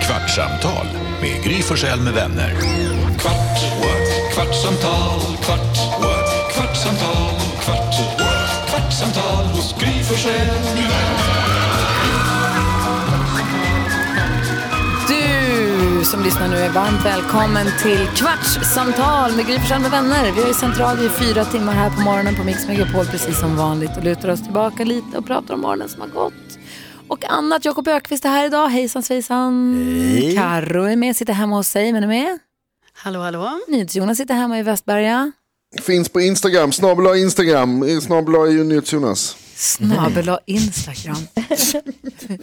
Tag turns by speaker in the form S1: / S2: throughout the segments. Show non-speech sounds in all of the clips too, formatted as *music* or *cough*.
S1: Kvartsamtal med Gry Forssell med vänner. Kvart, what? kvartsamtal, kvart, what? kvartsamtal, kvart, what? kvartsamtal hos Gry Forssell med vänner.
S2: Du som lyssnar nu är varmt välkommen till Kvartssamtal med Gry Forssell med vänner. Vi har ju sänt radio i fyra timmar här på morgonen på Mix Megapol precis som vanligt och lutar oss tillbaka lite och pratar om morgonen som har gått. Och annat, Jakob Ökvist är här idag. Hejsan svejsan. Hej. Karo är med, sitter hemma hos sig men är med.
S3: Hallå, hallå.
S2: NyhetsJonas sitter hemma i Västberga.
S4: Finns på Instagram, snabel A Instagram, snabel A är ju NyhetsJonas.
S2: Snabel och *laughs* Instagram.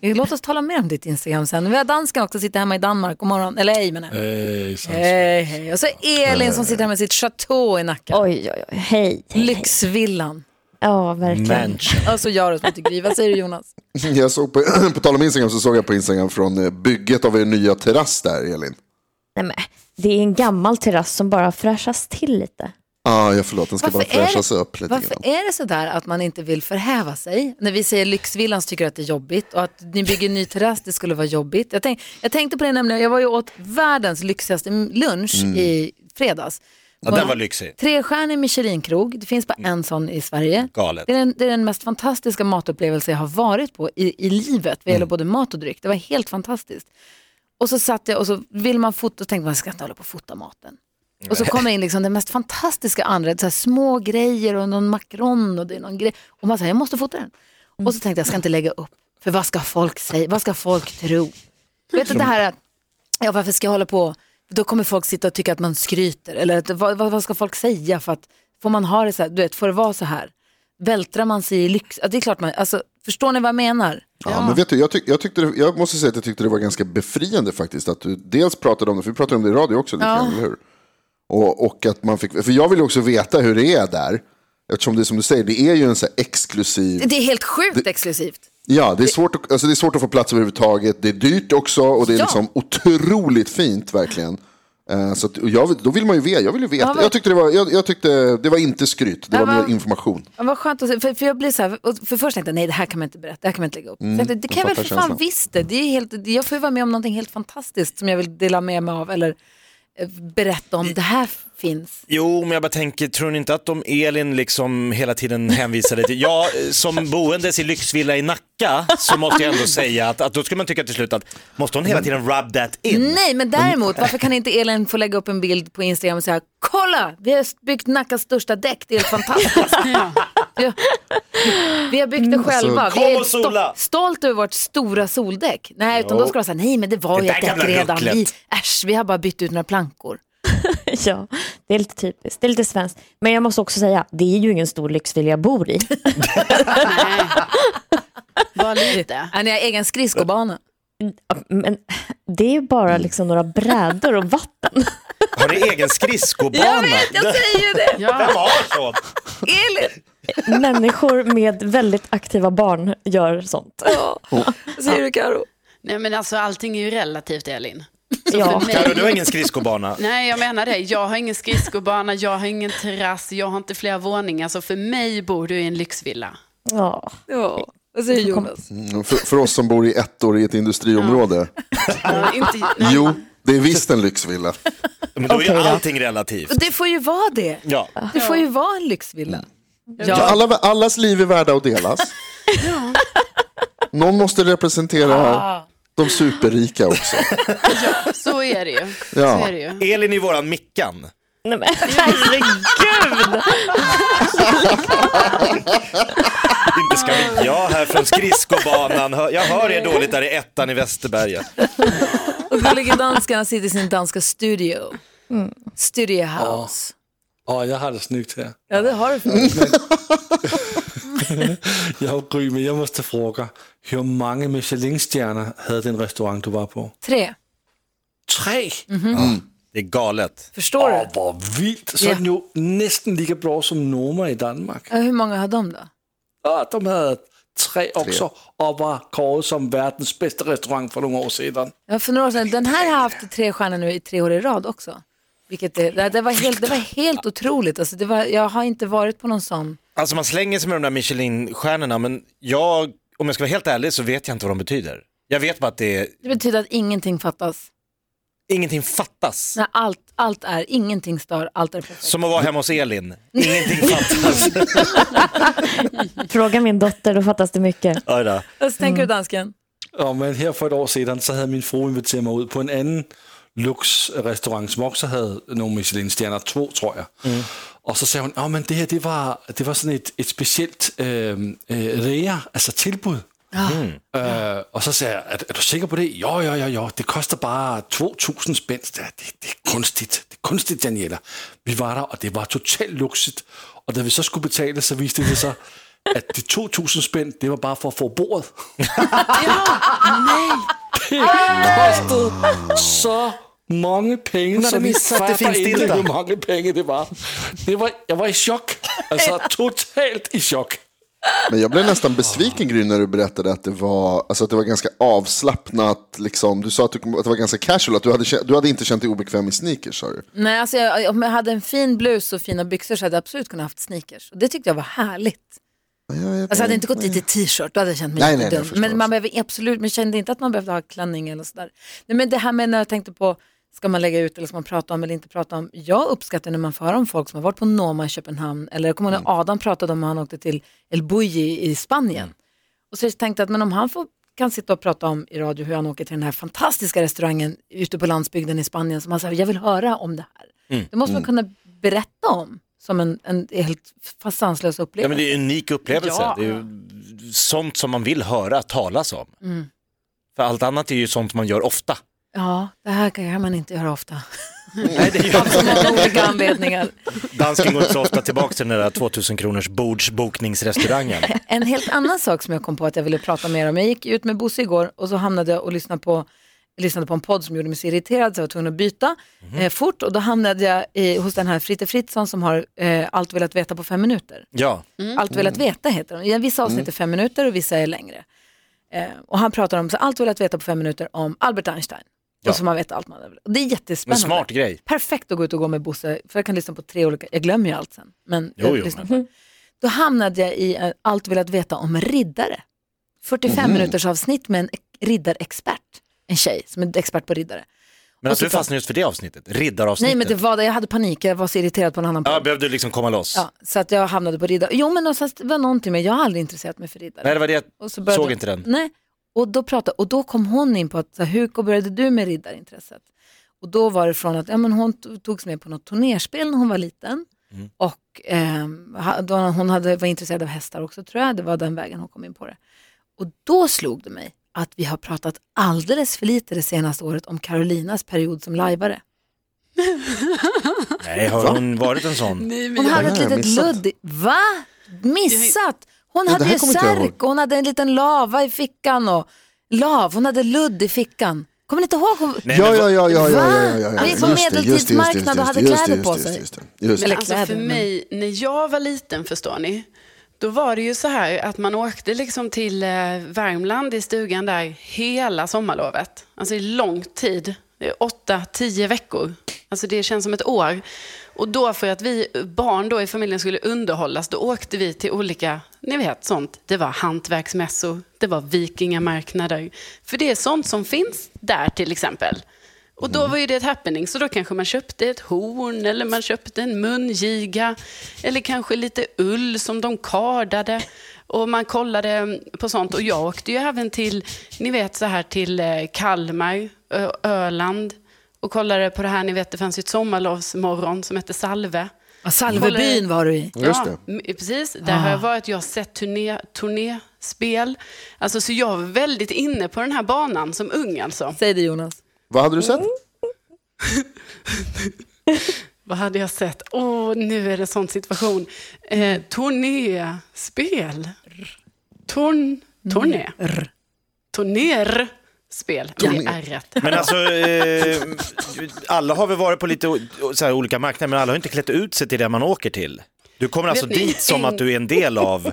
S2: Eh, Låt oss tala mer om ditt Instagram sen. Vi har dansken också, sitter hemma i Danmark. God morgon, eller ej menar jag. Hej, hej. Och så Elin som sitter här med sitt chateau i Nacka.
S5: Oj, oj, oj. Hej.
S2: Lyxvillan.
S5: Ja, verkligen.
S2: Och så Jaros som heter Gry. Vad säger du Jonas?
S4: *laughs* Jag såg på, *clears throat* på tal om Instagram så såg jag på Instagram från eh, bygget av er nya terrass där Elin.
S5: Nej, men, det är en gammal terrass som bara fräschas till lite. *laughs*
S4: Ja, jag förlåt, den ska bara
S2: är
S4: fräschas
S2: det-
S4: upp lite
S2: varför
S4: grann.
S2: är det sådär att man inte vill förhäva sig? När vi säger lyxvillan så tycker jag att det är jobbigt och att ni bygger en ny terrass, det skulle vara jobbigt. Jag, tänk, jag tänkte på det nämligen, jag var ju åt världens lyxigaste lunch
S4: Mm.
S2: i fredags.
S6: Ja,
S2: På
S6: den
S2: en
S6: var lyxig.
S2: Trestjärnig Michelinkrog, det finns bara en sån i Sverige.
S6: Galet.
S2: Det är, den, det är den mest fantastiska matupplevelse jag har varit på i, i livet, vad
S4: Mm.
S2: gäller både mat och dryck. Det var helt fantastiskt. Och så satt jag och så vill man fota, och tänkte man ska inte hålla på och fota maten. Och så kommer in liksom den mest fantastiska anrätt, så här små grejer och någon makron och det är någon grej. Och man säger jag måste fota den. Och så tänkte jag, jag ska inte lägga upp, för vad ska folk säga, vad ska folk tro? Vet du det här att, ja varför ska jag hålla på, då kommer folk sitta och tycka att man skryter, eller att, vad, vad vad ska folk säga för att, får man ha det så här, du vet, får det vara så här? Vältrar man sig i lyx, ja, det är klart man, alltså förstår ni vad jag menar?
S4: Ja, men vet du, jag, tyck, jag, tyckte det, jag måste säga att jag tyckte det var ganska befriande faktiskt att du dels pratade om det, för vi pratade om det i radio också lite grann, eller hur? Och, och att man fick, för jag vill ju också veta hur det är där. Eftersom det är som du säger, det är ju en så här exklusiv
S2: Det är helt sjukt exklusivt.
S4: Ja, det är, svårt att, alltså det är svårt att få plats överhuvudtaget. Det är dyrt också och det är
S2: Ja.
S4: liksom otroligt fint verkligen. Eh, Så att, och jag, vill- då vill man ju veta. Jag, vill ju veta.
S2: Ja, men-
S4: jag tyckte det var, jag, jag tyckte det var inte skryt, det
S2: Ja,
S4: var
S2: men-
S4: mer information.
S2: Ja, vad skönt att se, för, för jag blir så här, och för först tänkte jag nej det här kan man inte berätta, det här kan man inte lägga upp. Så jag tänkte, det kan Mm, jag väl
S4: jag
S2: för
S4: fattar
S2: fan
S4: känslan.
S2: visst det, det är helt, det- jag får ju vara med om någonting helt fantastiskt som jag vill dela med mig av eller eh, berätta om, det här finns.
S6: Jo, men jag bara tänker, tror ni inte att de Elin liksom hela tiden hänvisade till, ja, eh, som boendes i lyxvilla i Nacka så måste jag ändå säga att, att då skulle man tycka till slut att måste hon hela tiden rub that in?
S2: Nej men däremot, varför kan inte Elin få lägga upp en bild på Instagram och säga kolla, vi har byggt Nackas största däck, det är helt
S6: *laughs*
S2: fantastiskt. ja. Vi har byggt det själva, vi
S6: kom
S2: är
S6: och sola.
S2: stolt, stolt över vårt stora soldäck. Nej, utan då ska de säga nej men det var
S6: Det
S2: ju ett
S6: där gamla
S2: däck redan, vi,
S6: rucklet.
S2: äsch, vi har bara bytt ut några plankor.
S5: ja, det är lite typiskt. Det är lite svenskt. Men jag måste också säga, det är ju ingen stor lyxvilla jag bor i.
S3: Nej. Bara lite.
S2: Ja, ni har egen skridskobana.
S5: Men det är ju bara liksom några brädor och vatten.
S6: Har ni egen skridskobana? Jag vet, jag säger det! Vem har sånt?
S2: Elin,
S5: Människor med väldigt aktiva barn gör sånt.
S2: vad säger du Karo?
S3: Nej, men alltså allting är ju relativt, Elin.
S5: Ja.
S3: För mig-
S6: Carro, du har ingen skridskobana?
S3: Nej, jag menar det. Jag har ingen skridskobana, jag har ingen terrass, jag har inte flera våningar. Så för mig bor du i en lyxvilla.
S5: Ja.
S2: Ja, vad säger Jonas?
S4: Mm, För, för oss som bor i ett år i ett industriområde.
S3: Ja, inte, nej.
S4: Jo, det är visst en lyxvilla.
S6: Men då är
S5: Okej
S6: ju
S5: då.
S6: allting relativt.
S2: Det får ju vara det.
S6: Ja.
S2: Det får ju vara en lyxvilla. Ja.
S4: Alla, allas liv är värda att delas. Någon måste representera de superrika också.
S3: Så är det ju.
S4: Ja.
S3: Så är det ju.
S6: Elin är våran Mickan.
S5: Nej, men, *laughs* herregud!
S6: Inte ska vi, jag här från skridskobanan, hör- jag hör er dåligt där i ettan i Västerberga.
S2: Och gullige dansken han sitter i sin danska studio. Mm. Studio house.
S7: Åh, jag har det snyggt här.
S2: Ja, det har du för.
S7: Jag Gry, men jag måste fråga. Hur många Michelinstjärnor hade den restaurang du var på?
S2: Tre.
S7: Tre!
S6: Mhm. Det är galet.
S2: Förstår du?
S7: Åh, vad vilt! Så
S2: Ja.
S7: den ju nästan lika bra som Noma i Danmark.
S2: Ja, hur många har de då?
S7: Ja, de hade tre också och var korade som världens bästa restaurang för några år sedan.
S2: Ja, för några år sedan. Den här har haft tre stjärnor nu i tre år i rad också. Vilket det, det, det, var, helt, det var helt otroligt. Alltså, det var, jag har inte varit på någon sån.
S6: Alltså man slänger sig med de där Michelin-stjärnorna men jag, om jag ska vara helt ärlig så vet jag inte vad de betyder. Jag vet bara att det är,
S2: Det betyder att ingenting fattas.
S6: ingenting fattas.
S2: När allt, allt är, ingenting stör, allt är perfekt.
S6: Som att vara hemma hos Elin.
S2: *laughs*
S6: Ingenting fattas.
S5: Fråga min dotter, då fattas det mycket.
S6: Oj då.
S2: Och så tänker du dansken?
S7: Og men her for et år siden, så havde min fru inviteret mig ud på en anden lux-restaurant, som også havde nogle Michelin-stjerner, to tror jeg. Og så sagde hun, at men det her det var, det var sådan et, et specielt øh, øh, rea, altså tilbud. Øh, og så sagde jeg, er, er du sikker på det? Jo, jo, jo, jo, det koster bare 2.000 spænd. Ja, det, det er kunstigt, det er kunstigt, Daniela. Vi var der, og det var totalt lukset. Og da vi så skulle betale, så viste det sig, at de 2.000 spænd, det var bare for at få bordet. kostet så mange penge, så vi
S6: vist sig, at det
S7: fatter
S6: findes
S7: ikke,
S6: dildoer.
S7: hvor mange penge det var. det var. Jeg var i chok. Altså totalt i chok.
S4: Men jag blev nästan besviken Gry när du berättade att det var, alltså att det var ganska avslappnat. Liksom. Du sa att, du, att det var ganska casual, att du hade, kä- du hade inte känt dig obekväm i sneakers. Sa du.
S2: Nej, alltså jag, om jag hade en fin blus och fina byxor så hade jag absolut kunnat haft sneakers. Och det tyckte jag var härligt. Alltså jag hade inte gått dit i t-shirt, då hade jag känt mig
S4: typ Nej,
S2: lite
S4: nej, nej, jag
S2: dum.
S4: förstår
S2: Men man
S4: också.
S2: behöver absolut, men jag kände inte att man behövde ha klänning eller sådär. Nej, men det här med när jag tänkte på, ska man lägga ut eller ska man prata om eller inte prata om? Jag uppskattar när man får höra om folk som har varit på Noma i Köpenhamn, eller jag kommer ihåg
S4: Mm.
S2: när Adam pratade om att han åkte till El Bulli i Spanien.
S4: Mm.
S2: Och så tänkte jag att men om han får, kan sitta och prata om i radio hur han åker till den här fantastiska restaurangen ute på landsbygden i Spanien som han säger, jag vill höra om det här.
S4: Mm.
S2: Det måste man kunna berätta om som en, en helt fasanslös
S6: Ja, men
S2: upplevelse.
S6: det är en unik upplevelse.
S2: Ja.
S6: Det är ju sånt som man vill höra talas om.
S2: Mm.
S6: För allt annat är ju sånt man gör ofta.
S2: Ja, det här kan man inte göra ofta. Mm.
S6: Nej, det *laughs* gör
S2: Av så många *laughs* olika anledningar.
S6: Dansken går inte så ofta tillbaka till den där 2000 kronors bordsbokningsrestaurangen.
S2: En helt annan sak som jag kom på att jag ville prata mer om. Jag gick ut med Bosse igår och så hamnade jag och lyssnade på, lyssnade på en podd som gjorde mig så irriterad så jag var tvungen att byta
S6: Mhm.
S2: eh, fort. Och då hamnade jag i, hos den här Fritte Fritzson som har eh, Allt velat veta på fem minuter.
S6: Ja,
S2: Allt velat
S6: Mm.
S2: veta heter de. Ja, Vissa avsnitt är fem minuter och vissa är längre. Eh, och han pratar om så allt velat veta på fem minuter om Albert Einstein.
S6: Ja.
S2: Och så man vet allt man hade velat. Och Det är
S6: en
S2: jättespännande.
S6: smart grej.
S2: Perfekt att gå ut och gå med Bosse, för jag kan lyssna på tre olika, jag glömmer ju allt sen. Men
S6: Jo,
S2: jag
S6: jo,
S2: lyssnar på. Då hamnade jag i eh, allt velat veta om riddare. 45
S6: Mhm.
S2: minuters avsnitt med en riddarexpert, en tjej som är expert på riddare.
S6: Men
S2: Och
S6: att
S2: så
S6: du
S2: prat-
S6: fastnade just för det avsnittet, riddaravsnittet.
S2: Nej men det var det, jag hade panik, jag var så irriterad på en annan
S6: Ja,
S2: podd.
S6: behövde du liksom komma loss?
S2: Ja, så att jag hamnade på riddare. Jo men någonstans, det var någonting med, jag har aldrig intresserat mig för riddare.
S6: Nej, det var det jag
S2: Och så började
S6: såg
S2: de-
S6: inte den.
S2: Nej, och då, pratade, och då kom hon in på att, så här, hur började du med riddarintresset? Och då var det från att ja, men hon to- togs med på något turnerspel när hon var liten.
S6: Mm.
S2: Och ehm, ha- då hon hade, var intresserad av hästar också tror jag, det var den vägen hon kom in på det. Och då slog det mig att vi har pratat alldeles för lite det senaste året om Carolinas period som lajvare.
S6: Nej, har hon varit en sån?
S3: Nej, men
S2: Hon
S3: jag,
S2: hade ett
S4: Nej,
S2: litet
S4: missat.
S2: ludd. i- Va? Missat? Hon
S4: Ja, det
S2: hade
S4: här
S2: ju
S4: kommer inte jag
S2: särk
S4: ihåg.
S2: och hon hade en liten lava i fickan och lav, hon hade ludd i fickan. Kommer ni inte ihåg? Hon...
S6: Nej,
S4: ja,
S6: men
S4: ja,
S6: vad-
S4: ja, ja, ja,
S2: Va?
S4: ja, ja, ja.
S2: Han gick på
S4: Just det, just det, just det, just det,
S2: medeltidsmarknad och hade
S4: just det,
S2: kläder
S4: just
S2: på
S4: det,
S2: sig.
S4: just det, just det.
S2: Eller
S3: alltså
S2: kläder,
S3: för
S2: men-
S3: mig, när jag var liten, förstår ni, då var det ju så här att man åkte liksom till eh, Värmland i stugan där hela sommarlovet. Alltså i lång tid. Det är Åtta, tio veckor. Alltså det känns som ett år. Och då för att vi barn då i familjen skulle underhållas, då åkte vi till olika, ni vet sånt. Det var hantverksmässor, det var vikingamarknader. För det är sånt som finns där till exempel. Och då var ju det ett happening, så då kanske man köpte ett horn eller man köpte en mungiga eller kanske lite ull som de kardade. Och man kollade på sånt. Och jag åkte ju även till, ni vet så här till eh, Kalmar, Ö- Öland och kollade på det här, ni vet det fanns ju ett sommarlovsmorgon som hette Salve.
S2: Ja, Salvebyn var du i.
S4: Just
S3: Ja, m- precis. Där har jag varit. Jag har sett turné, turnéspel. Alltså, så jag var väldigt inne på den här banan som ung alltså.
S2: Säg det Jonas.
S4: Vad hade du sett?
S3: Vad hade jag sett? Åh, nu är det sån situation. Eh, Turnéspel. Torn... Torné. Turnerspel. Det är rätt.
S6: Men alltså, eh, alla har väl varit på lite o- så här, olika marknader, men alla har inte klätt ut sig till det man åker till. Du kommer alltså
S3: Vet ni,
S6: dit som att du är en del av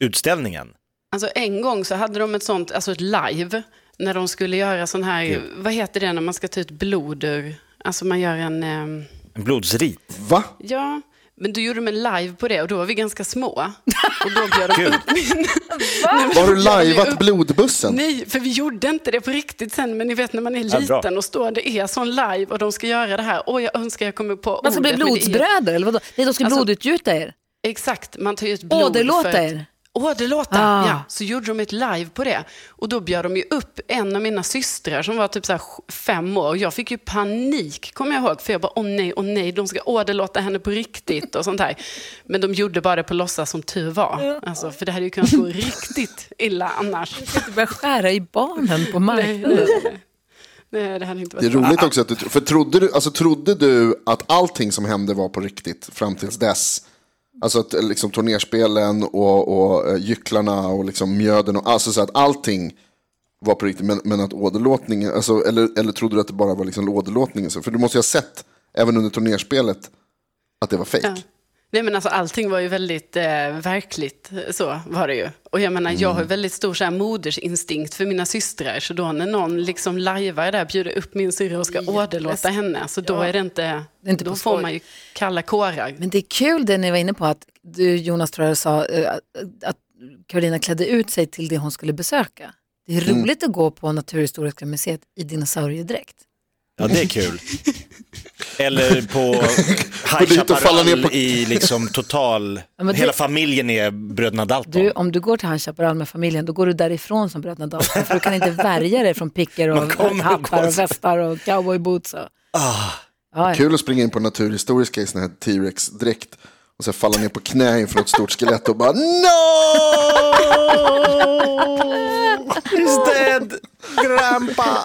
S6: utställningen.
S3: Alltså en gång så hade de ett sånt, alltså ett live, när de skulle göra sån här, vad heter det när man ska ta ut blod ur, alltså man gör en, ehm,
S6: En blodsrit.
S4: Va?
S3: ja, Men du gjorde mig live på det och då var vi ganska små. Och då bjöd de
S6: Kul.
S3: upp min...
S4: Har du lajvat
S3: upp-
S4: blodbussen?
S3: Nej, för vi gjorde inte det på riktigt sen, men ni vet när man är
S6: Ja, bra.
S3: liten och står, det är sån live och de ska göra det här. Åh, jag önskar jag kommer på
S2: Man ska bli
S3: ordet, men det är-
S2: blodsbröder eller vadå? Nej, de ska
S3: Alltså-
S2: blodutgjuta er.
S3: Exakt, man tar ju ut blod.
S2: Åderlåta
S3: för-
S2: er.
S3: Åderlåta,
S2: Ah.
S3: ja. Så gjorde de ett live på det. Och då bjöd de ju upp en av mina systrar som var typ så här sj- fem år. Och jag fick ju panik, kommer jag ihåg. För jag bara, åh nej, åh nej, de ska åderlåta henne på riktigt och sånt här. Men de gjorde bara det på låtsas som tur var. Alltså, för det hade ju kunnat gå *laughs* riktigt illa annars.
S2: Du börjar skära i barnen på
S3: Nej,
S2: marknaden.
S3: nej, nej. nej det hade inte
S4: Det är
S3: varit bra.
S4: roligt också att du, för trodde du, alltså trodde du att allting som hände var på riktigt fram tills dess? Alltså att eh, liksom turnerspelen och, och eh, gycklarna och liksom mjöden och alltså så att allting var på riktigt men, men att åderlåtningen, alltså, eller, eller trodde du att det bara var liksom åderlåtningen? Så, för du måste ju ha sett, även under turnerspelet, att det var fejk.
S3: Ja. Nej men alltså allting var ju väldigt eh, verkligt, så var det ju. Och jag menar,
S2: Mm.
S3: jag har ju väldigt stor så här, modersinstinkt för mina systrar, så då när någon liksom lajvar där, bjuder upp min syrra och ska åderlåta henne, så då är det inte,
S2: Det är inte på
S3: då
S2: skoj.
S3: får man ju kalla kårar.
S2: Men det är kul det ni var inne på att du Jonas tror jag sa eh, att- att Karolina klädde ut sig till det hon skulle besöka. Det är
S4: Mm.
S2: roligt att gå på Naturhistoriska museet i dinosauriedräkt.
S6: Ja, det är kul. Eller på
S4: Gå
S6: High
S4: dit och falla ner
S6: Chaparral
S4: på-
S6: i liksom total,
S2: Ja, men det-
S6: hela familjen är bröderna Dalton.
S2: Du, om du går till High Chaparral med familjen, då går du därifrån som bröderna Dalton, för du kan inte värja dig från pickor
S6: Man
S2: och
S6: kommer Ah. och
S2: hattar
S6: går
S2: och
S6: så-
S2: västar och cowboyboots. Och... Ja, ja.
S4: Kul att springa in på Naturhistoriska i sån här T-Rex-dräkt och så falla ner på knä inför ett stort skelett och bara no!
S6: He's Oh! dead, grandpa.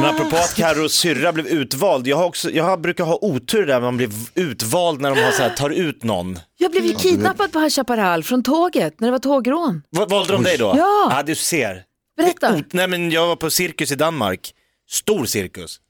S6: Men apropå att Carros syrra blev utvald, jag, har också, jag har- brukar ha otur där man blir utvald när de har så här, tar ut någon.
S2: Jag blev ju kidnappad på High Chaparral från tåget när det var tågrån.
S6: Va- Valde de dig då?
S2: Ja.
S6: ja du ser.
S2: Berätta.
S6: Ot- Mm, Nej men jag var på cirkus i Danmark, stor cirkus,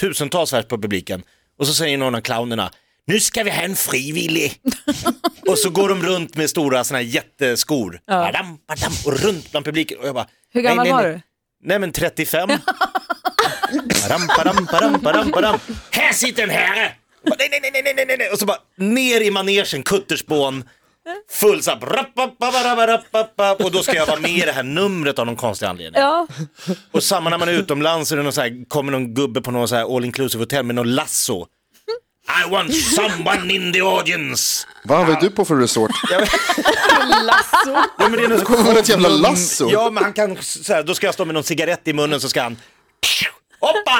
S6: tusentals pers på publiken och så säger någon av clownerna, nu ska vi ha en frivillig.
S2: *laughs*
S6: och så går de runt med stora såna här jätteskor, badam, badam, och runt bland publiken och jag bara,
S2: Hur gammal
S6: nej, nej,
S2: var
S6: nej.
S2: du?
S6: Nej men 35. badam, badam, badam, badam, badam. Här sitter en herre! Jag bara, Nej, nej, nej, nej, nej, nej, nej, och så bara ner i manegen, kutterspån, full så här, brapp, brapp, brapp, brapp, brapp, brapp, och då ska jag vara med i det här numret av någon konstig anledning.
S2: Ja.
S6: Och samma när man är utomlands så, är det någon så här, kommer någon gubbe på någon så här all inclusive hotell med någon lasso. I want someone in the audience.
S4: Vad var du på för
S6: *laughs*
S4: resort?
S2: *laughs*
S3: Lasso.
S6: Ja, men det är någon
S4: *laughs*
S6: så
S4: Kommer med ett jävla
S6: Mm,
S4: lasso?
S6: Ja, men han kan, så här, då ska jag stå med någon cigarett i munnen så ska han, hoppa!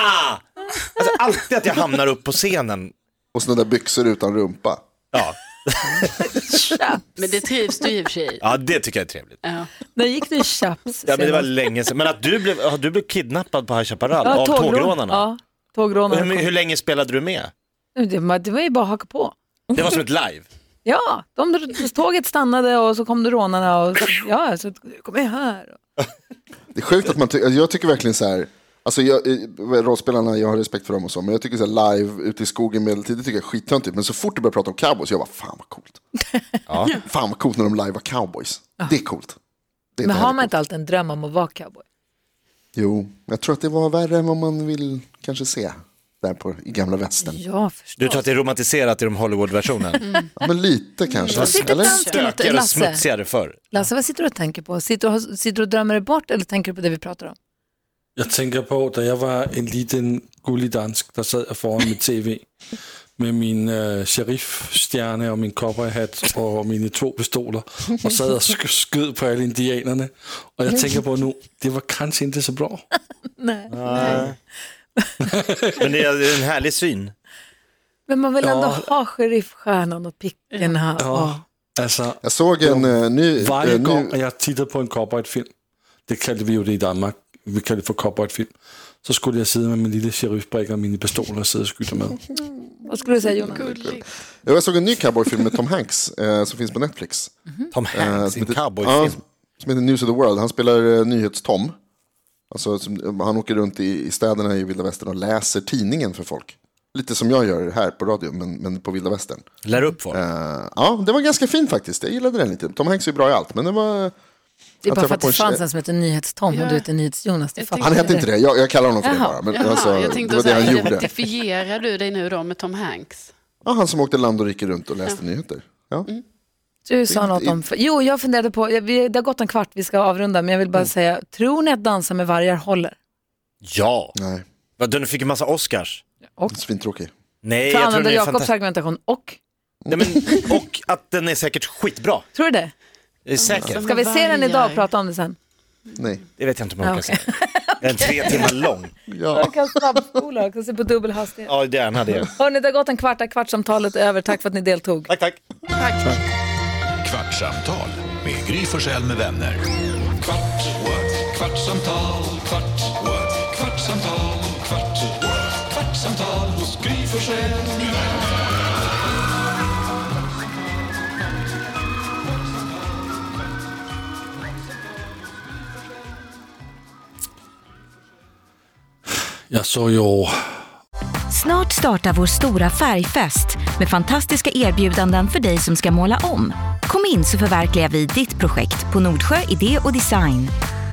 S6: Alltså alltid att jag hamnar upp på scenen.
S4: Och sådana där byxor utan rumpa.
S6: Ja,
S3: Men det trivs du i och för
S2: *laughs*
S3: sig i.
S6: ja det tycker jag är trevligt.
S3: Ja.
S2: När gick du i chaps?
S6: Ja, men det var
S2: senast?
S6: länge sedan. Men att du blev, har du blev kidnappad på High Chaparral av
S2: tågrån.
S6: tågrånarna.
S2: Ja,
S6: Och Hur,
S2: tågrånarna.
S6: hur länge spelade du med?
S2: Det, det var ju bara att haka på.
S6: Det var som ett live.
S2: Ja, de, tåget stannade och så kom det rånarna och ja, så kom jag här.
S4: Det är sjukt att man tycker, jag tycker verkligen så här, alltså jag, eh, rollspelarna, jag har respekt för dem och så, men jag tycker så här live ute i skogen medeltid, det tycker jag är skittöntigt, men så fort du börjar prata om cowboys, jag bara fan vad
S6: *laughs*
S4: coolt. Ja. Fan vad coolt när de livear cowboys, det är coolt. Det är
S2: Men har
S4: inte
S2: man
S4: heller
S2: inte alltid en dröm om att vara cowboy?
S4: coolt. Jo, jag tror att det var värre än vad man vill kanske se där på, i gamla västern.
S2: Ja, förstås.
S6: Du tror att det är romantiserat i de Hollywood-versionen?
S2: Mm.
S4: Ja, men lite kanske.
S2: sitter
S4: Eller?
S2: dans-
S6: Stökigare och
S2: Lasse.
S6: smutsigare förr.
S2: Lasse, vad sitter du och tänker på? Sitter du, och- sitter du och drömmer dig bort eller tänker du på det vi pratar om?
S7: Jeg tænker på, da jeg var en liten gullig dansk, der sad jeg foran mit tv med min øh, sheriffstjerne og min cowboyhat og mine to pistoler, og sad og sk- skød på alle indianerne. Og jeg tænker på nu, det var kanskje ikke så bra.
S6: Men det är en härlig syn.
S2: Mm. Men man vill ändå
S7: Ja.
S2: ha sheriffstjärnan och pickorna.
S7: Ja. Altså,
S4: Jag såg en eh, ny...
S7: Varje
S4: eh, ny
S7: gång jag tittar på en cowboyfilm, det kallade vi ju det i Danmark, vi kallade det för cowboyfilm, så skulle jag sidde med min lille sheriffbrækker och mina pistoler och sidde og skyde med.
S2: Och, vad skulle du säga Jonas?
S4: jag såg en ny cowboyfilm med Tom Hanks eh, som finns på Netflix. Eh,
S6: Tom Hanks i en
S4: Ja,
S6: cowboyfilm.
S4: som heter News of the World. Han spelar eh, Nyhets-Tom. Alltså, som, han åker runt i, i städerna i vilda västern och läser tidningen för folk. Lite som jag gör här på radio, men, men på vilda västern.
S6: Lär upp folk.
S4: Eh, ja, det var ganska fin faktiskt. Jag gillade den lite. Tom Hanks är bra i allt, men den var...
S2: Det är
S4: Jag
S2: bara för
S4: träffade
S2: att det
S4: på en
S2: fanns
S4: tjej-
S2: en som heter Nyhetstom och
S3: Ja.
S2: du heter Nyhets-Jonas. Det
S3: Jag
S2: fattar
S4: Han
S2: jag.
S4: hette inte det. Jag, jag kallar honom för
S2: Jaha,
S4: det bara. Men,
S3: Jaha,
S4: alltså,
S3: jag
S4: det
S3: tänkte
S4: var
S3: så
S4: det
S3: här,
S4: han gjorde.
S3: identifierar du dig nu då med Tom Hanks?
S4: Ja, han som åkte land och rike runt och läste nyheter. Ja.
S2: Du sa något om... Jo, jag funderade på, vi- det har gått en kvart, vi ska avrunda, men jag
S4: Mm.
S2: vill bara säga, tror ni att Dansa med vargar håller?
S6: Ja,
S4: Nej,
S6: Vad, den fick en massa Oscars.
S4: svintråkig.
S6: Nej,
S2: För
S6: jag tror
S2: använder
S6: den är
S2: Jakobs
S6: fantastisk.
S2: argumentation och,
S6: Nej, men, och att den är säkert skitbra.
S2: tror du det?
S6: Det är
S2: Mm.
S6: säkert.
S2: Ska vi se den idag och prata om det sen?
S4: Nej.
S6: Det vet jag inte om jag
S2: Ja,
S6: orkar säga. Den är
S2: *laughs*
S6: tre timmar lång.
S4: Ja.
S2: Jag kan snabbspola och se på dubbel hastighet.
S6: Ja, det är den hade jag.
S2: Hörni, det har gått en kvart, där kvartsamtalet är över. Tack för att ni deltog.
S6: Tack, tack.
S1: Kvartsamtal med Gry Forssell med vänner. Kvart, what? kvartsamtal, kvart, what? kvartsamtal, kvart, what? kvartsamtal hos Gry Forssell med vänner.
S7: Jag såg ju
S8: Snart startar vår stora färgfest med fantastiska erbjudanden för dig som ska måla om. Kom in så förverkligar vi ditt projekt på Nordsjö Idé och Design.